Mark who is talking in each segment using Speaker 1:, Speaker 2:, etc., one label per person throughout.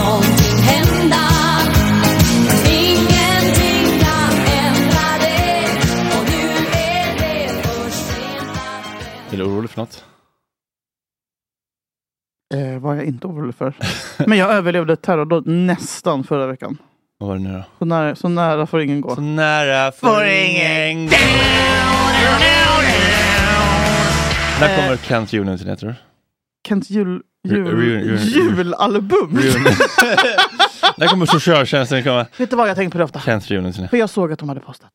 Speaker 1: någonting hända Ingenting kan ändra det Och nu är det för sent att vända
Speaker 2: Är du orolig för något?
Speaker 3: Eh, var jag inte orolig för. Men jag överlevde ett terrordåd nästan förra veckan.
Speaker 2: Vad var det nu då?
Speaker 3: Så nära, så nära får ingen gå.
Speaker 2: nära
Speaker 3: Får ingen
Speaker 2: gå. När kommer Kent Unity ner tror du?
Speaker 3: Kents jul, jul,
Speaker 2: Re- re- re- re-
Speaker 3: julalbum.
Speaker 2: När kommer socialtjänsten komma?
Speaker 3: Vet du vad jag tänkt på det ofta?
Speaker 2: Kent Unity ner.
Speaker 3: För jag såg att de hade postat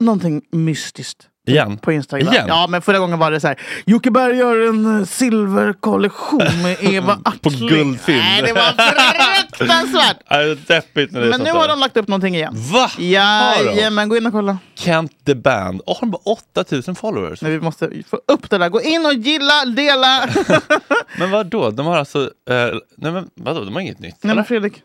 Speaker 3: någonting mystiskt
Speaker 2: Igen?
Speaker 3: på Instagram.
Speaker 2: Igen?
Speaker 3: Ja, men förra gången var det så här. Jocke Berg gör en eh, silverkollektion med Eva
Speaker 2: På
Speaker 3: Attling.
Speaker 2: guldfilm.
Speaker 3: Nej, det var fruktansvärt.
Speaker 2: Ja, Äh, Det är deppigt när det är
Speaker 3: Men
Speaker 2: sånt
Speaker 3: nu
Speaker 2: där.
Speaker 3: har de lagt upp någonting igen.
Speaker 2: Va? Har de?
Speaker 3: Jajamän, gå in och kolla.
Speaker 2: Kent the Band. Åh, har de bara 8000 followers?
Speaker 3: Nej, vi måste få upp det där. Gå in och gilla, dela.
Speaker 2: Men vadå? De har alltså... eh, nej men vadå? De har inget nytt?
Speaker 3: Nej men
Speaker 2: eller?
Speaker 3: Fredrik,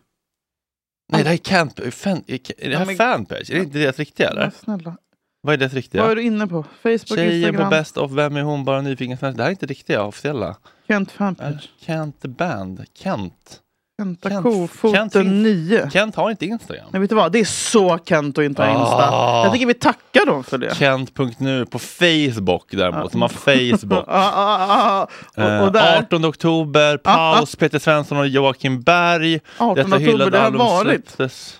Speaker 2: Nej, det här är Kent... Fan, är det här
Speaker 3: men-
Speaker 2: fanpage? Är det inte deras riktiga eller?
Speaker 3: men snälla.
Speaker 2: Vad är deras riktiga?
Speaker 3: Vad är du inne på? Facebook,
Speaker 2: Tjejen på
Speaker 3: Instagram,
Speaker 2: Best of Vem är hon? Bara nyfiken svensk. Det här är inte riktiga officiella.
Speaker 3: Kent
Speaker 2: Är
Speaker 3: fanpage,
Speaker 2: Äh, Kent the Band. Kent.
Speaker 3: Kenta
Speaker 2: Kent-
Speaker 3: Kofoten
Speaker 2: Kent finns-
Speaker 3: 9.
Speaker 2: Kent har inte Instagram.
Speaker 3: Nej vet du vad, det är så Kent att inte ha Insta.
Speaker 2: Ah.
Speaker 3: Jag tycker vi tackar dem för det.
Speaker 2: Kent.nu på Facebook däremot. De har Facebook.
Speaker 3: Ah, ah, ah, ah. Och, och
Speaker 2: Eh,
Speaker 3: där,
Speaker 2: 18 oktober, paus, Peter Svensson och Joakim Berg.
Speaker 3: 18
Speaker 2: Detta
Speaker 3: oktober,
Speaker 2: hyllade
Speaker 3: det har
Speaker 2: album
Speaker 3: varit.
Speaker 2: släpptes-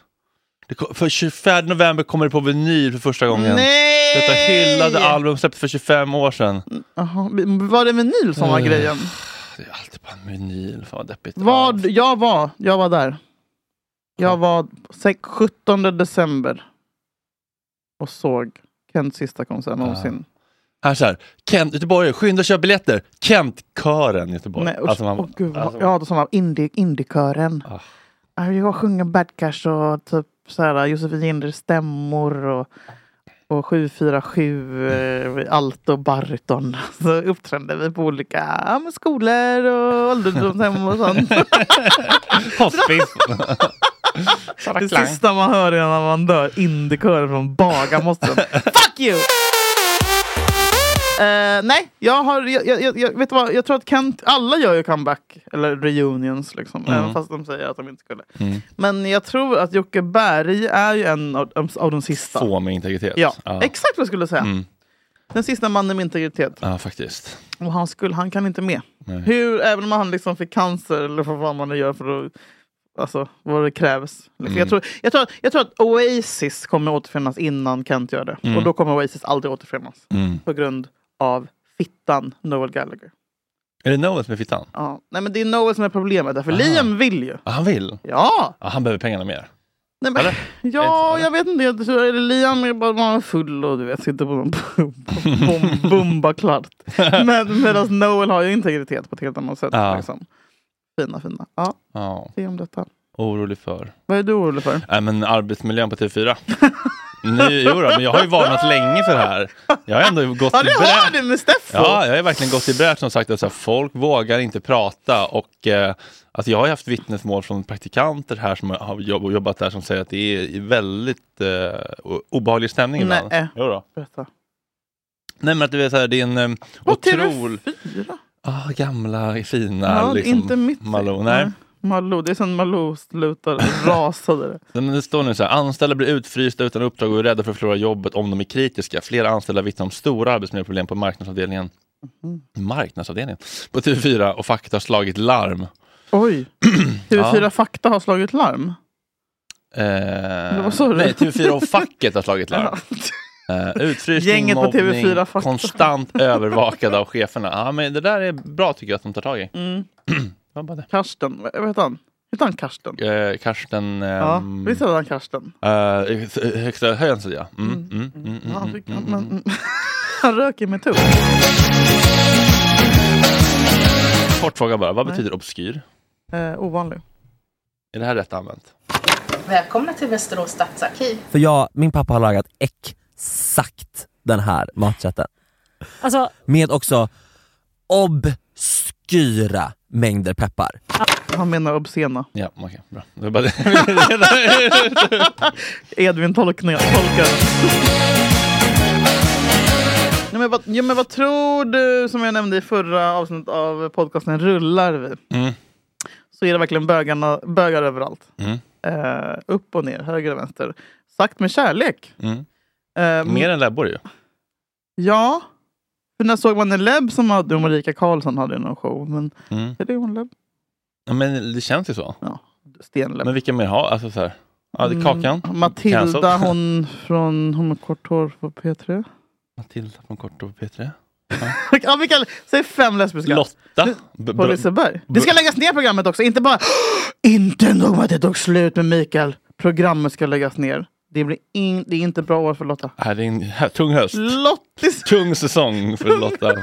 Speaker 2: Det kom, för 24 november kommer det på vinyl för första gången.
Speaker 3: nej!
Speaker 2: Detta hyllade album släpptes för 25 år sedan.
Speaker 3: Jaha, Var det vinyl som var
Speaker 2: Eh.
Speaker 3: grejen?
Speaker 2: Det är alltid bara en vinyl, fan vad deppigt.
Speaker 3: Vad, jag var, jag var där. Jag var sex- 17 december och såg Kents sista konsert någonsin.
Speaker 2: Här så här, Kent, Göteborg, skynda och köp biljetter! Kentkören Göteborg.
Speaker 3: Nej, och,
Speaker 2: Alltså, man-
Speaker 3: åh, gud, vad-
Speaker 2: alltså,
Speaker 3: ja, då som var indie, indiekören.
Speaker 2: Ah.
Speaker 3: Ah. Jag sjunger Bad Cash och typ så här, Josefin Ginders stämmor och, och 747, eh, alto och bariton. Så uppträdde vi på olika ja, men skolor och ålderdomshem och sånt.
Speaker 2: Hospice.
Speaker 3: Det sista man hör innan man dör, indiekören från Bagarmossen. Fuck you! Eh, nej, jag har... Jag, jag- jag, jag, vet du vad? Jag tror att Kent, alla gör ju comeback, eller reunions, liksom,
Speaker 2: Mm.
Speaker 3: även fast de säger att de inte skulle. Men jag tror att Jocke Berg är ju en av, av de sista.
Speaker 2: Få med integritet.
Speaker 3: Ja,
Speaker 2: ja.
Speaker 3: exakt vad jag skulle säga.
Speaker 2: Mm.
Speaker 3: Den sista mannen med integritet.
Speaker 2: Ja, faktiskt.
Speaker 3: Och han, skulle, han kan inte med. Hur, även om han liksom fick cancer eller vad fan man nu gör för att... Alltså vad det krävs. Liksom. Jag, tror, jag, tror, jag tror att Oasis kommer återfinnas innan Kent gör det. Och då kommer Oasis aldrig återfinnas.
Speaker 2: Mm.
Speaker 3: På grund av fittan Noel Gallagher.
Speaker 2: Är det Noel som är fittan?
Speaker 3: Ja. Nej men det är Noel som är problemet. Därför Liam vill ju.
Speaker 2: Ja, han vill.
Speaker 3: Ja!
Speaker 2: Ja, han behöver pengarna mer.
Speaker 3: Nej, men,
Speaker 2: Eller?
Speaker 3: ja,
Speaker 2: Eller?
Speaker 3: jag vet inte. Jag tror, eller Liam är bara man är full och du vet, sitter på någon bum- bum- bumba klart. Men medan Noel har ju integritet på ett helt annat sätt.
Speaker 2: Ja.
Speaker 3: Liksom. Fina, fina. Ja,
Speaker 2: Ja,
Speaker 3: det är om detta.
Speaker 2: orolig för.
Speaker 3: Vad är du orolig för?
Speaker 2: Nej, men arbetsmiljön på TV4. Ny, jo då, men jag har ju varnat länge för det här. Jag har ändå gått
Speaker 3: Ja,
Speaker 2: i
Speaker 3: det har
Speaker 2: bräschen.
Speaker 3: du med Steffo!
Speaker 2: Ja, jag har verkligen gått i bräschen och sagt att så här, folk vågar inte prata. Och, eh, alltså, jag har ju haft vittnesmål från praktikanter här som har jobb- jobbat där som säger att det är väldigt eh, o- obehaglig stämning ibland.
Speaker 3: Nej. äh,
Speaker 2: Jo då.
Speaker 3: Berätta.
Speaker 2: Nej men att du är så här, det är en eh,
Speaker 3: På
Speaker 2: otrolig...
Speaker 3: TV4?
Speaker 2: Ah, gamla fina
Speaker 3: Ja,
Speaker 2: liksom,
Speaker 3: inte mitt-
Speaker 2: Malou. Nej.
Speaker 3: Nej. Malou, det är som Malou slutar rasade. det.
Speaker 2: Men Det står nu så här, anställda blir utfrysta utan uppdrag och är rädda för att förlora jobbet om de är kritiska. Flera anställda vittnar om stora arbetsmiljöproblem på marknadsavdelningen.
Speaker 3: Mhm.
Speaker 2: Marknadsavdelningen? På TV4 och facket har slagit larm.
Speaker 3: Oj! TV4
Speaker 2: Ja.
Speaker 3: Fakta har slagit larm.
Speaker 2: Eh,
Speaker 3: vad sa du?
Speaker 2: nej, TV4 och facket har slagit larm. Eh, utfrysning,
Speaker 3: Gänget på
Speaker 2: mobbning,
Speaker 3: TV4 facket.
Speaker 2: konstant övervakade av cheferna. Ja, men det där är bra tycker jag att de tar tag i.
Speaker 3: Mm.
Speaker 2: Vad var det?
Speaker 3: Karsten, vad vad heter han? Heter han Karsten?
Speaker 2: Eh, Karsten... ehm,
Speaker 3: Ja, visst heter han Karsten?
Speaker 2: eh, högsta höjden säger jag. Mm, mm, mm, mm,
Speaker 3: Ja, Han,
Speaker 2: mm,
Speaker 3: fick,
Speaker 2: mm,
Speaker 3: han, han, han röker med tugg.
Speaker 2: Kort fråga bara, vad betyder obskyr?
Speaker 3: Eh, ovanlig.
Speaker 2: Är det här rätt använt?
Speaker 4: Välkomna till Västerås stadsarkiv.
Speaker 5: För jag, min pappa har lagat exakt den här maträtten.
Speaker 6: Alltså,
Speaker 5: Med också obskyra mängder peppar.
Speaker 3: Han menar obscena.
Speaker 2: Ja, okej, bra. Det var bara det.
Speaker 3: Edvin tolkning, tolkar. Nej, men, vad, ja, men vad tror du, som jag nämnde i förra avsnittet av podcasten Rullar vi?
Speaker 2: Mm.
Speaker 3: Så är det verkligen bögarna, bögar överallt.
Speaker 2: Mm.
Speaker 3: Eh, upp och ner, höger och vänster. Sagt med kärlek.
Speaker 2: Mm.
Speaker 3: Eh,
Speaker 2: Mer än läbbor ju.
Speaker 3: Ja. För när såg man en Lebb som hade, och Marika Karlsson hade någon show. Men
Speaker 2: Mm.
Speaker 3: är det hon Lebb?
Speaker 2: Ja, Men det känns ju så.
Speaker 3: Stenlebb.
Speaker 2: Men vilka mer har? Alltså så här. Ja, det är Kakan.
Speaker 3: Mm, Matilda,
Speaker 2: Cancel.
Speaker 3: hon från hon med kort hår på P3.
Speaker 2: Matilda från Kort och P3.
Speaker 3: ja, vi kan, säg fem lesbiska.
Speaker 2: Lotta. B-
Speaker 3: På
Speaker 2: bra-
Speaker 3: Liseberg. Det ska läggas ner programmet också, inte bara Inte nog med att det tog slut med Mikael. Programmet ska läggas ner. Det, blir in, det är inte bra år för Lotta.
Speaker 2: Här är en här, tung höst.
Speaker 3: Lottis!
Speaker 2: Tung säsong för Lotta.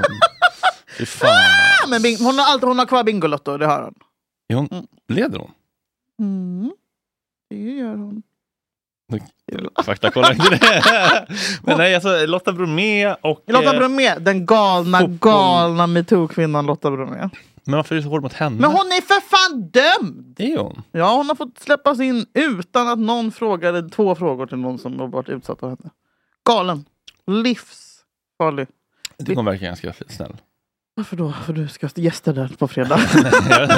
Speaker 2: Fy fan.
Speaker 3: Ah, Men bing, hon, har alltid, hon har kvar Bingolotto, det har hon.
Speaker 2: Är hon, leder hon?
Speaker 3: Mm. Det gör hon.
Speaker 2: Fakta kollar inte det. Men nej, alltså Lotta Bromé och...
Speaker 3: Lotta
Speaker 2: eh,
Speaker 3: Bromé, den galna,
Speaker 2: fotboll.
Speaker 3: galna metoo-kvinnan Lotta Bromé.
Speaker 2: eh, Men varför är du så hård mot henne?
Speaker 3: Men hon är för fan dömd!
Speaker 2: Det är hon.
Speaker 3: Ja, hon har fått släppas in utan att någon frågade två frågor till någon som har varit utsatt av henne. Galen. Livsfarlig.
Speaker 2: Jag tycker hon verkar ganska snäll.
Speaker 3: Varför då? För du ska ha gäster där på fredag.
Speaker 2: Jag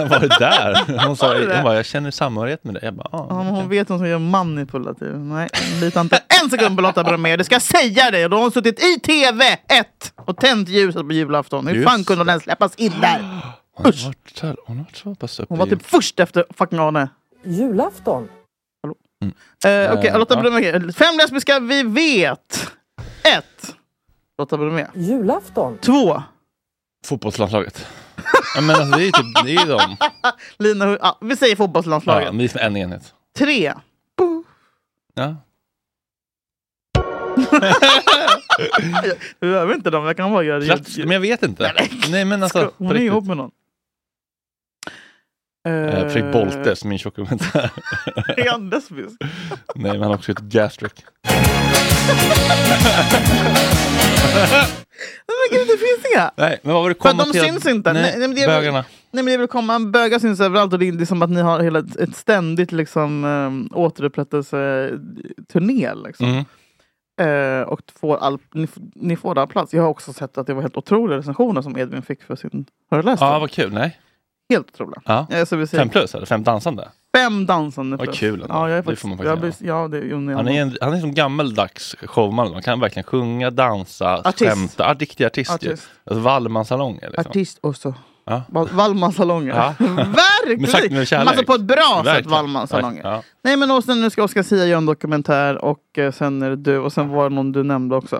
Speaker 2: var där. Hon sa,
Speaker 3: Var du det?
Speaker 2: hon bara, jag känner samhörighet med dig. Jag bara, ah,
Speaker 3: Ja, men
Speaker 2: okej.
Speaker 3: hon vet hon som gör manipulativ. Nej, lita inte en sekund på Lotta Bromé. Det ska jag säga dig. Och Då har hon suttit i TV1 och tänt ljuset på julafton. Hur
Speaker 2: Just
Speaker 3: fan kunde hon ens släppas in där?
Speaker 2: Hon har
Speaker 3: Usch.
Speaker 2: varit så här- hon har varit så pass uppe
Speaker 3: Hon var
Speaker 2: i-
Speaker 3: typ först efter fucking Arne.
Speaker 7: Julafton.
Speaker 3: Eh, Okej,
Speaker 2: Eh,
Speaker 3: Lotta
Speaker 2: ja.
Speaker 3: Bromé. Fem lesbiska vi vet. Ett. Lotta Bromé.
Speaker 7: Julafton.
Speaker 3: Två.
Speaker 2: fotbollslandslaget. Ja, men alltså, det är ju typ, det är ju de.
Speaker 3: Lina, Hu- ja, vi säger fotbollslandslaget.
Speaker 2: Ja, det är som en enhet.
Speaker 3: Tre. Bo.
Speaker 2: Ja.
Speaker 3: Jag behöver inte dem, jag kan bara göra det.
Speaker 2: Plats, men jag vet inte. Nej men alltså,
Speaker 3: Ska-
Speaker 2: på
Speaker 3: Hon är
Speaker 2: riktigt.
Speaker 3: ihop med någon.
Speaker 2: Eh,
Speaker 3: Eh,
Speaker 2: Fredrik Bolte som min tjocka vän.
Speaker 3: Är han lesbisk?
Speaker 2: Nej men han har också ett gastric.
Speaker 3: Nej, Men gud, det finns inga!
Speaker 2: Nej men vad var det
Speaker 3: För att de syns inte.
Speaker 2: Nej,
Speaker 3: Nej, nej, men det är väl-
Speaker 2: bögarna.
Speaker 3: Nej men det är väl komma, bögar syns överallt och det är det är som att ni har hela ett, ett ständigt liksom, um, återupprättelseturné. Liksom.
Speaker 2: Mm.
Speaker 3: Eh, och får all, ni, f- ni får all plats. Jag har också sett att det var helt otroliga recensioner som Edvin fick för sin föreläsning.
Speaker 2: Ja vad kul. Nej.
Speaker 3: Helt otroliga.
Speaker 2: Ja.
Speaker 3: Eh, så vi säger
Speaker 2: Fem plus eller fem dansande.
Speaker 3: fem dansande
Speaker 2: Vad
Speaker 3: plus.
Speaker 2: kul ändå.
Speaker 3: Ja, jag är
Speaker 2: Det
Speaker 3: faktiskt,
Speaker 2: får man
Speaker 3: jag
Speaker 2: faktiskt
Speaker 3: blir- ja, det är ju en-
Speaker 2: Han är, en, han är som gammeldags showman. Man kan verkligen sjunga, dansa,
Speaker 3: Artist.
Speaker 2: skämta. Ja, riktig artist, ju.
Speaker 3: Artist.
Speaker 2: Alltså Wallmansalonger. Liksom.
Speaker 3: Artist också.
Speaker 2: Ja.
Speaker 3: Val- Wallmansalonger.
Speaker 2: Ja. Men sagt med
Speaker 3: Verkligen!
Speaker 2: kärlek.
Speaker 3: Alltså på ett bra sätt
Speaker 2: Verkligen.
Speaker 3: Wallmansalonger.
Speaker 2: Ja.
Speaker 3: Nej men och sen, nu ska Oscar Sia göra en dokumentär och eh, sen är det du och sen var det någon du nämnde också.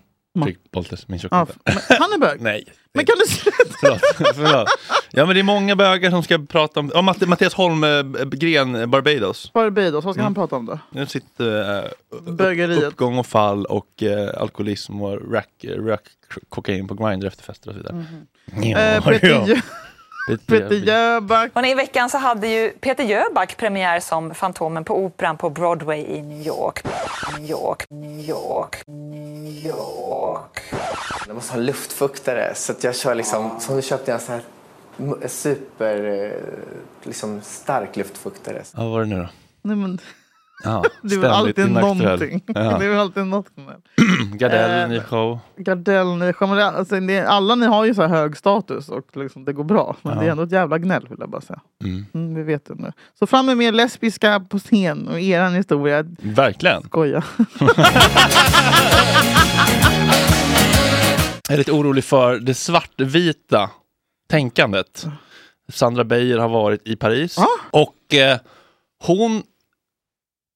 Speaker 2: Tryck Bolters, min
Speaker 3: Ja,
Speaker 2: tjockkompis.
Speaker 3: men han är bög.
Speaker 2: Nej.
Speaker 3: Men kan du sluta?
Speaker 2: Förlåt. Förlåt. Ja men det är många bögar som ska prata om... Ja, Matt, Mattias Holmgren, eh, Barbados.
Speaker 3: Barbados, vad ska
Speaker 2: Mm.
Speaker 3: han prata om då?
Speaker 2: Nu sitter eh,
Speaker 3: Bögeriet.
Speaker 2: uppgång och fall och eh, alkoholism och rack, rack, kokain på grinder efter fester och så vidare.
Speaker 3: Eh, Peter Jö- Peter Jöback.
Speaker 8: Och I veckan så hade ju Peter Jöback premiär som Fantomen på Operan på Broadway i New York. New York, New York, New York.
Speaker 9: Jag måste ha luftfuktare så att jag kör liksom, så nu köpte jag en sån här m- super, eh, liksom stark luftfuktare.
Speaker 2: Ja, vad var det nu då?
Speaker 3: Nej, men,
Speaker 2: Ja,
Speaker 3: det är väl
Speaker 2: ständigt
Speaker 3: alltid
Speaker 2: inaktuell.
Speaker 3: någonting.
Speaker 2: Ja.
Speaker 3: Det är väl alltid något.
Speaker 2: Gardell,
Speaker 3: Eh,
Speaker 2: ny show.
Speaker 3: Gardell, ni kommer, alltså, ni, alla ni har ju så här hög status och liksom, det går bra. Men det är
Speaker 2: Ja.
Speaker 3: ändå ett jävla gnäll vill jag bara säga.
Speaker 2: Mm.
Speaker 3: Mm, vi vet det nu. Så fram med mer lesbiska på scen och eran historia.
Speaker 2: Verkligen.
Speaker 3: Skoja.
Speaker 2: Jag är lite orolig för det svartvita tänkandet. Sandra Beijer har varit i Paris och eh, hon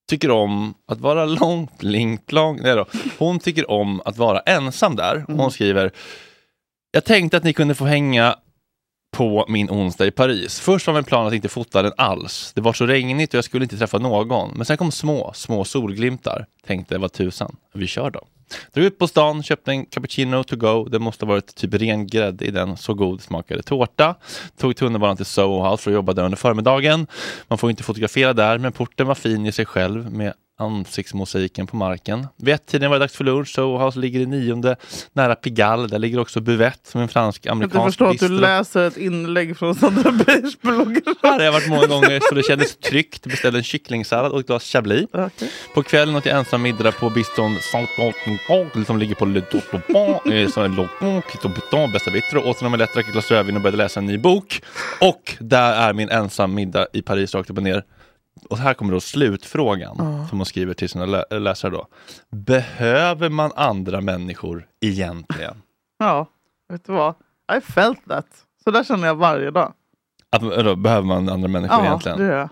Speaker 2: tycker om att vara långt, långt, långt. Nej då. Hon tycker om att vara ensam där. Och Hon skriver Jag tänkte att ni kunde få hänga på min onsdag i Paris. Först var min plan att inte fota den alls. Det var så regnigt och jag skulle inte träffa någon. Men sen kom små, små solglimtar. Tänkte vad tusan, vi kör då. Drog ut på stan, köpte en cappuccino to go. Det måste ha varit typ ren grädde i den, så god smakade tårta. Tog tunnelbanan till Soho House för att jobba där under förmiddagen. Man får inte fotografera där, men porten var fin i sig själv med ansiktsmosaiken på marken. Vid ett-tiden var det dags för lunch. Soho House ligger i nionde, nära Pigalle. Där ligger också Buvette, som är en
Speaker 3: Jag kan inte
Speaker 2: fransk-amerikansk
Speaker 3: förstå att du
Speaker 2: bistro.
Speaker 3: läser ett inlägg från Sandra Beijers blogg.
Speaker 2: Här har jag varit många gånger så det kändes tryggt. Beställde en kycklingsallad och ett glas chablis. På kvällen åt jag ensam middag på bistron Saint-Antoine som ligger på Le Dotopon som är Logon, Kitobuton, Bästa Bittro. Åt en omelett, drack ett glas rödvin och började läsa en ny bok. Och där är min ensam middag i Paris rakt upp och ner. Och här kommer då slutfrågan
Speaker 3: Ja.
Speaker 2: som hon skriver till sina lä- läsare då. Behöver man andra människor egentligen?
Speaker 3: Ja, vet du vad? I felt that. Så där känner jag varje dag.
Speaker 2: Att, då, behöver man andra människor
Speaker 3: ja,
Speaker 2: egentligen?
Speaker 3: det gör jag.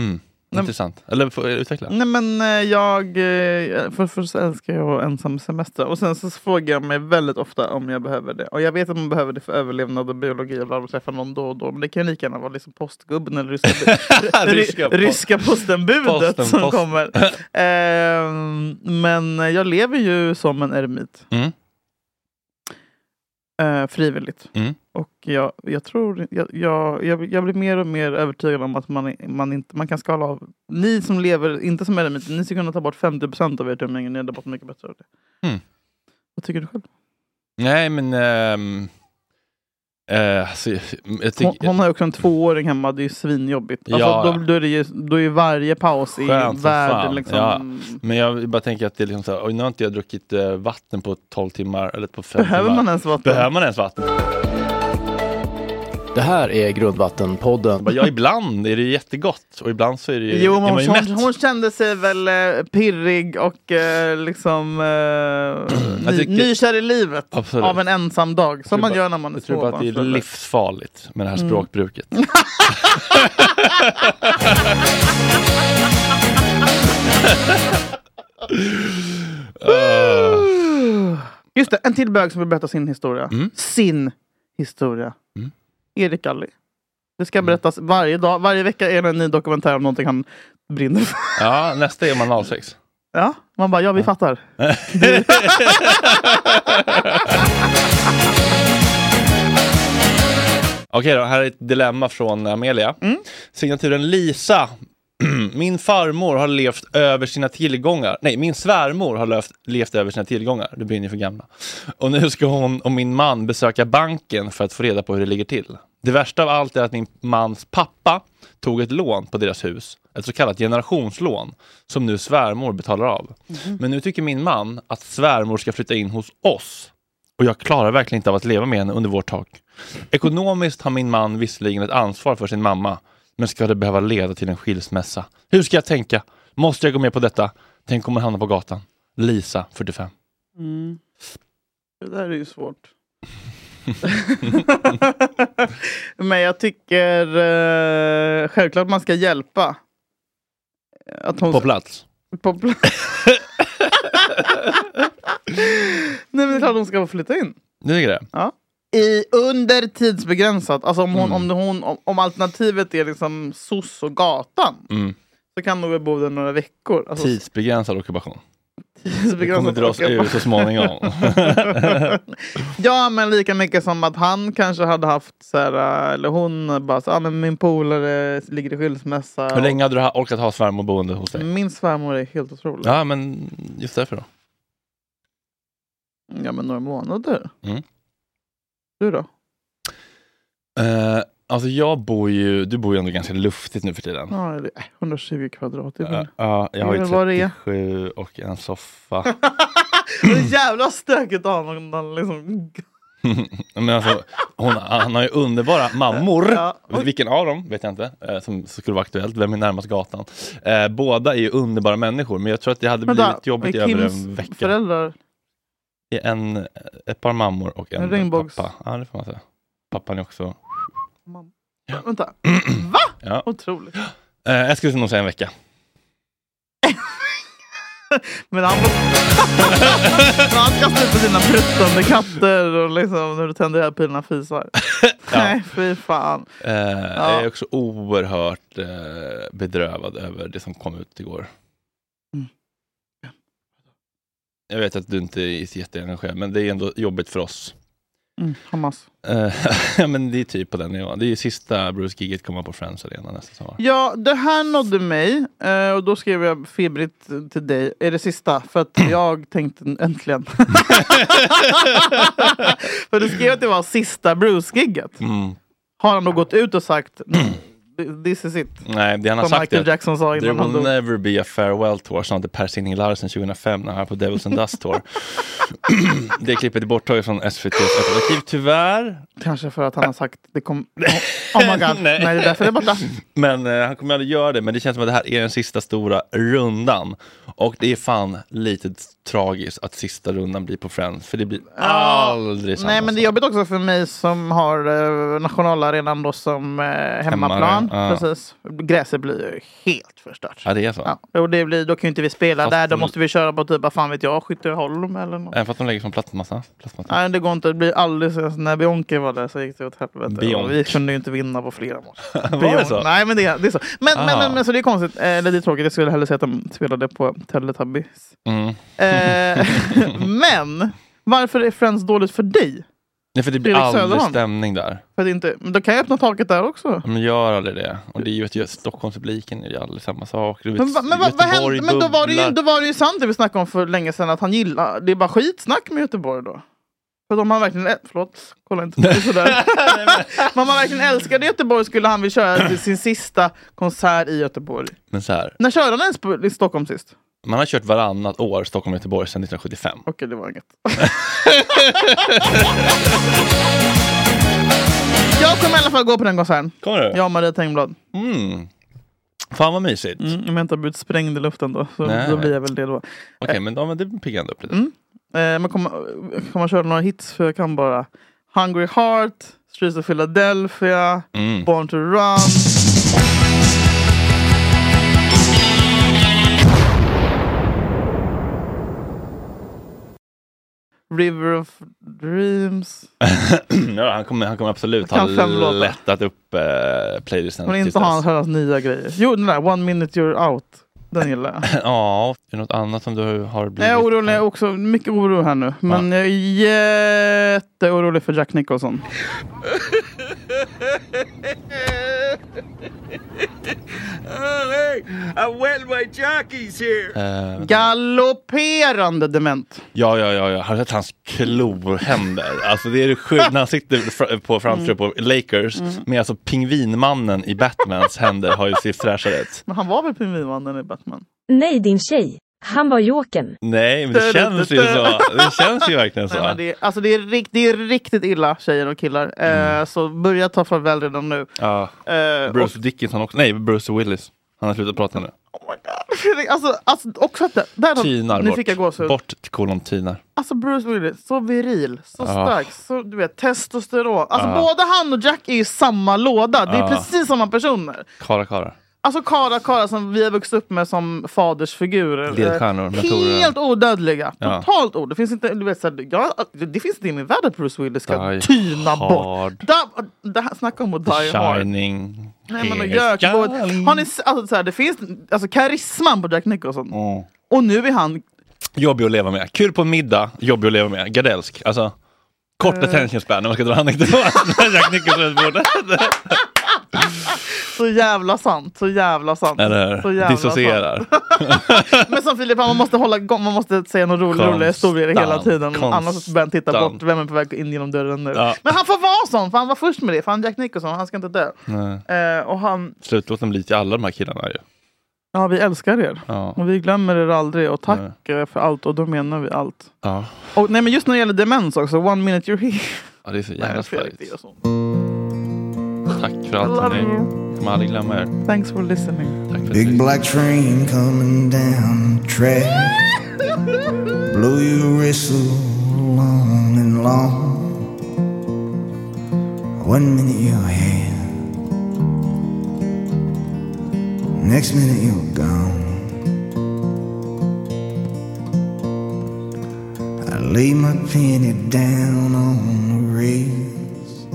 Speaker 2: Mm.
Speaker 3: Nej,
Speaker 2: Intressant. Eller får jag utveckla?
Speaker 3: Nej men eh, jag, eh, för, för så älskar jag att vara ensam semester och sen så frågar jag mig väldigt ofta om jag behöver det. Och jag vet att man behöver det för överlevnad och biologi och man träffar någon då och då. Men det kan ju lika gärna vara liksom postgubben eller ryska, ry-
Speaker 2: Ryska po-
Speaker 3: ryska postenbudet
Speaker 2: Posten,
Speaker 3: som
Speaker 2: posten.
Speaker 3: kommer. Ehm, men jag lever ju som en eremit.
Speaker 2: Mm.
Speaker 3: eh, frivilligt.
Speaker 2: Mm.
Speaker 3: Och jag, jag tror, jag, jag, jag, jag blir mer och mer övertygad om att man, man, inte, man kan skala av. Ni som lever, inte som eremiter, ni skulle kunna ta bort 50 av ert umgänge. Ni hade bort mycket bättre av det.
Speaker 2: Mm.
Speaker 3: Vad tycker du själv?
Speaker 2: Nej, men... ehm, eh, alltså, jag, jag tycker...
Speaker 3: Hon, hon har ju också en tvååring hemma, det är ju svinjobbigt. Alltså,
Speaker 2: Ja,
Speaker 3: då, då, är det ju, då är ju varje paus i
Speaker 2: Skönt som
Speaker 3: värd
Speaker 2: fan.
Speaker 3: liksom,
Speaker 2: Ja. Men jag bara tänker att det är liksom så här, oj nu har inte jag druckit eh, vatten på 12 timmar eller på 5
Speaker 3: Behöver
Speaker 2: timmar.
Speaker 3: man ens vatten?
Speaker 2: Behöver man ens vatten?
Speaker 10: Det här är Grundvattenpodden.
Speaker 2: Bara, Ja, ibland är det ju jättegott och ibland så är det ju...
Speaker 3: Jo,
Speaker 2: är
Speaker 3: men
Speaker 2: man
Speaker 3: hon,
Speaker 2: ju mätt.
Speaker 3: hon, hon kände sig väl eh, pirrig och eh, liksom eh,
Speaker 2: Jag
Speaker 3: ny,
Speaker 2: tycker-
Speaker 3: nykär i livet
Speaker 2: Absolut.
Speaker 3: av en ensam dag. Som man gör när man är
Speaker 2: Jag tror bara att det är
Speaker 3: småbarnsförälder.
Speaker 2: livsfarligt med det här
Speaker 3: Mm.
Speaker 2: språkbruket.
Speaker 3: Just det, en till bög som vill berätta sin historia. Sin historia.
Speaker 2: Mm.
Speaker 3: Erik Alli. Det ska berättas varje dag. Varje vecka är det en ny dokumentär om någonting han brinner för.
Speaker 2: Ja, nästa är man 06.
Speaker 3: Ja, man bara, ja vi fattar.
Speaker 2: Okej då, här är ett dilemma från Amelia. Signaturen Lisa. Min farmor har levt över sina tillgångar. Nej, min svärmor har levt, levt över sina tillgångar. Det blir ni för gamla. Och nu ska hon och min man besöka banken för att få reda på hur det ligger till. Det värsta av allt är att min mans pappa tog ett lån på deras hus, ett så kallat generationslån, som nu svärmor betalar av.
Speaker 11: Mhm.
Speaker 2: Men nu tycker min man att svärmor ska flytta in hos oss och jag klarar verkligen inte av att leva med henne under vårt tak. Ekonomiskt har min man visserligen ett ansvar för sin mamma, men ska det behöva leda till en skilsmässa? Hur ska jag tänka? Måste jag gå med på detta? Tänk om hon hamnar på gatan? Lisa, 45.
Speaker 3: Mm. Det där är ju svårt. Men jag tycker eh, självklart man ska hjälpa. Att hon
Speaker 2: På plats?
Speaker 3: På plats. Nej men det är klart hon ska få flytta in.
Speaker 2: Nu tycker det?
Speaker 3: Ja. I, under tidsbegränsat. Alltså om,
Speaker 2: Mm.
Speaker 3: hon, om, hon, om, om alternativet är liksom soc och gatan.
Speaker 2: Mm.
Speaker 3: Så kan hon väl bo där några veckor. Alltså,
Speaker 2: Tidsbegränsad ockupation. Det
Speaker 3: tidsbegränsat
Speaker 2: kommer dras
Speaker 3: åka
Speaker 2: ur
Speaker 3: på-
Speaker 2: så småningom.
Speaker 3: Ja, men lika mycket som att han kanske hade haft så här, eller hon bara så, ah, men min polare ligger i skilsmässa.
Speaker 2: Hur länge hade du ha- orkat ha svärmor boende hos dig?
Speaker 3: Min svärmor är helt otrolig.
Speaker 2: Ja, men just därför då.
Speaker 3: Ja, men några månader.
Speaker 2: Mm.
Speaker 3: Du då?
Speaker 2: Eh, alltså jag bor ju, du bor ju ändå ganska luftigt nu för tiden. Eh,
Speaker 3: Ja, eller, äh, 120 kvadrat.
Speaker 2: Ja,
Speaker 3: Uh,
Speaker 2: jag har ju
Speaker 3: vad det är.
Speaker 2: 37 och en soffa.
Speaker 3: Det är jävla stökigt att ha någon annan liksom.
Speaker 2: Men alltså, hon, han har ju underbara mammor.
Speaker 3: Ja.
Speaker 2: Vilken av dem vet jag inte, eh, som skulle vara aktuellt. Vem är närmast gatan? Eh, båda är ju underbara människor, men jag tror att det hade
Speaker 3: Vänta,
Speaker 2: blivit jobbigt i
Speaker 3: är
Speaker 2: över
Speaker 3: Kims
Speaker 2: en vecka.
Speaker 3: föräldrar
Speaker 2: Det är En, ett par mammor och en,
Speaker 3: En regnbågs-
Speaker 2: pappa. Ja, det får man säga. Pappan är också...
Speaker 3: Vänta.
Speaker 2: Va? Ja.
Speaker 3: Otroligt.
Speaker 2: Eh, jag skulle nog säga en vecka.
Speaker 3: Men han, han kastar ut på sina pruttande katter och liksom när du tänder här pilarna fisar. Nej, fy fan.
Speaker 2: Eh, Jag är också oerhört eh, bedrövad över det som kom ut igår.
Speaker 3: Mm.
Speaker 2: Jag vet att du inte är så jätteengagerad, men det är ändå jobbigt för oss.
Speaker 3: Mm, Hamas.
Speaker 2: Eh, ja, men det är typ på den nivån. Det är ju sista Bruce Gigget kommer på Friends Arena nästa sommar.
Speaker 3: Ja, det här nådde mig eh, och då skrev jag febrigt till dig. Är det sista? För att jag tänkte äntligen. För du skrev att det var sista Bruce-gigget.
Speaker 2: Mm.
Speaker 3: Har han då gått ut och sagt this is it?
Speaker 2: Nej, det han har
Speaker 3: Som
Speaker 2: sagt
Speaker 3: Mm. Michael
Speaker 2: är eh,
Speaker 3: Jackson sa
Speaker 2: There
Speaker 3: innan han
Speaker 2: will
Speaker 3: dog.
Speaker 2: never be a farewell tour, sa han till Per Sinding Larsen 2005 när han var på Devils and Dust Tour. det klippet är borttaget från SVTs öppet arkiv, tyvärr.
Speaker 3: Kanske för att han har sagt det kom... Oh, oh my god, nej. det är därför det är borta.
Speaker 2: Men eh, han kommer aldrig göra det, men det känns som att det här är den sista stora rundan. Och det är fan lite tragiskt att sista rundan blir på Friends, för det blir aldrig samma
Speaker 3: Nej men det är jobbigt också för mig som har eh, nationalarenan då som eh, hemmaplan.
Speaker 2: ja.
Speaker 3: Precis. Gräset blir ju helt förstört.
Speaker 2: Ja, det är så.
Speaker 3: Och det blir, då kan ju inte vi spela
Speaker 2: Fast
Speaker 3: där, då
Speaker 2: de-
Speaker 3: måste vi köra på typ, vad fan vet jag, Skytteholm eller något.
Speaker 2: Även för att de lägger som plattmassa. plattmassa.
Speaker 3: Nej det går inte, det blir aldrig så. Alltså, när Bionke var där så gick det åt helvete.
Speaker 2: Bionk.
Speaker 3: Och Vi kunde ju inte vinna på flera mål.
Speaker 2: Var det så?
Speaker 3: Nej men det, det är så. Men, men,
Speaker 2: Ah.
Speaker 3: men, men så det är konstigt, eh, eller det är tråkigt, jag skulle hellre säga att de spelade på Teletubbies.
Speaker 2: Mm.
Speaker 3: Eh, men varför är Friends dåligt för dig?
Speaker 2: Nej, för det blir
Speaker 3: Fredrik
Speaker 2: aldrig
Speaker 3: Söderholm.
Speaker 2: stämning där.
Speaker 3: För att inte, men då kan jag öppna taket där också.
Speaker 2: De gör aldrig det. Och det är ju att gö- Stockholmspubliken är ju aldrig samma sak. Du vet,
Speaker 3: Men, va- men, vad- vad
Speaker 2: Göteborg
Speaker 3: hände? men då, var det ju,
Speaker 2: bubblar.
Speaker 3: då var det ju sant det vi snackade om för länge sedan, att han gillar... Det är bara skitsnack med Göteborg då. För de har verkligen... Äh, förlåt, kolla inte på mig sådär. Men om han verkligen älskade Göteborg skulle han vilja köra till sin sista konsert i Göteborg.
Speaker 2: Men så här,
Speaker 3: När körde han ens på, i Stockholm sist?
Speaker 2: man har kört varannat år Stockholm och Göteborg sedan 1975.
Speaker 3: Okej, det var inget. Jag kommer i alla fall gå på den konserten.
Speaker 2: Kommer du?
Speaker 3: Jag och Maria Tengblad.
Speaker 2: Mm. Fan vad mysigt.
Speaker 3: Mm, om jag inte har blivit sprängd i luften då, så
Speaker 2: Nej.
Speaker 3: då blir jag väl det då.
Speaker 2: Okej, men, ja, men det piggar ändå upp lite.
Speaker 3: Mm. Eh, men kommer kommer man köra några hits för jag kan bara Hungry Heart, Streets of Philadelphia,
Speaker 2: Mm.
Speaker 3: Born to Run. River of Dreams.
Speaker 2: ja, han, kommer, han kommer absolut
Speaker 3: Jag
Speaker 2: ha
Speaker 3: kan fem låtar.
Speaker 2: lättat upp eh, playlisten.
Speaker 3: Men
Speaker 2: tills
Speaker 3: inte
Speaker 2: dess.
Speaker 3: han hans nya grejer. Jo, den där One Minute You're Out. Den gillar jag.
Speaker 2: Ja, är det något annat som du har blivit?
Speaker 3: Jag är orolig, jag är också mycket oro här nu. Men jag är jätteorolig för Jack Nicholson.
Speaker 11: Oh, hey, I wet my jockeys here.
Speaker 2: Eh,
Speaker 3: Galopperande dement.
Speaker 2: Ja, ja, ja, ja. Har du sett hans klohänder? Alltså det är det sjukt när han sitter fr- på framför på Lakers
Speaker 3: Mm.
Speaker 2: med alltså pingvinmannen i Batmans händer har ju sett fräschare ut.
Speaker 3: Men han var väl Pingvinmannen i Batman?
Speaker 12: Nej din tjej, han var Jokern.
Speaker 2: Nej, men det känns ju så. Det känns ju verkligen
Speaker 3: Nej, men
Speaker 2: så.
Speaker 3: det, är- alltså det, är rikt, det är riktigt illa tjejer och killar. Eh, så börja ta farväl redan nu.
Speaker 2: Ja.
Speaker 3: Eh,
Speaker 2: Mm. Bruce Dickinson också. Nej, Bruce Willis. Han har slutat prata nu.
Speaker 3: Fredrik, oh alltså, alltså också att det, där,
Speaker 2: Tinar
Speaker 3: nu
Speaker 2: bort.
Speaker 3: fick jag gåshud.
Speaker 2: Bort till kolon tinar.
Speaker 3: Alltså Bruce Willis, så viril, så
Speaker 2: Ah.
Speaker 3: stark, så du vet testosteron. Alltså
Speaker 2: Ah.
Speaker 3: både han och Jack är ju samma låda, det är
Speaker 2: Ah.
Speaker 3: precis samma personer.
Speaker 2: Kara, Kara.
Speaker 3: Alltså Kara Kara som vi har vuxit upp med som fadersfigurer.
Speaker 2: Ledstjärnor,
Speaker 3: Eh,
Speaker 2: mentorer.
Speaker 3: Helt odödliga.
Speaker 2: Ja.
Speaker 3: Totalt od. Det finns inte, du vet, så här, ja, det det finns inte i min värld att Bruce Willis ska
Speaker 2: Die
Speaker 3: tyna bort.
Speaker 2: Hard.
Speaker 3: Da, da, snacka om att die hard.
Speaker 2: Shining.
Speaker 3: Nej, men och
Speaker 2: Here it
Speaker 3: Jökboet. Har ni s- alltså, så här, det finns alltså, karisman på Jack Nicholson.
Speaker 2: Mm.
Speaker 3: Och nu är han...
Speaker 2: Jobbig att leva med. Kul på en middag, jobbig att leva med. Gardelsk. Alltså, kort
Speaker 3: Eh.
Speaker 2: attention span när man ska dra hand efter varandra. Jack Nicholson borde.
Speaker 3: Så jävla sant, så jävla sant.
Speaker 2: Eller
Speaker 3: så
Speaker 2: hur?
Speaker 3: jävla
Speaker 2: Dissocierar.
Speaker 3: sant. Men som Filip, man måste hålla igång, man måste säga några roliga, roliga historier hela
Speaker 2: Konstant,
Speaker 3: tiden. Annars
Speaker 2: konstant.
Speaker 3: börjar han titta bort, vem är på väg in genom dörren nu?
Speaker 2: Ja.
Speaker 3: Men han får vara sån, för han var först med det. För han är Jack Nicholson, han ska inte dö.
Speaker 2: Nej.
Speaker 3: Eh, och han,
Speaker 2: Slutlåten blir till alla de här killarna ju.
Speaker 3: ja vi älskar er.
Speaker 2: Ja.
Speaker 3: Och vi glömmer er aldrig och tack eh, för allt och då menar vi allt.
Speaker 2: Ja.
Speaker 3: Och, nej men just när det gäller demens också, one minute you're here.
Speaker 2: ja, det är så
Speaker 3: Nej,
Speaker 2: jävla
Speaker 3: Fredrik,
Speaker 2: starkt.
Speaker 3: det gör så.
Speaker 2: Tack för allt
Speaker 3: Love
Speaker 2: hörni.
Speaker 3: you.
Speaker 2: Kommer aldrig glömma er.
Speaker 3: Thanks for listening.
Speaker 13: Big black train coming down the track. Blow your whistle long and long. One minute you're here, next minute you're gone. I lay my penny down on the rails.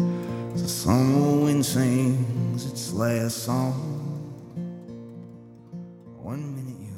Speaker 13: The summer wind sings its last song. One minute you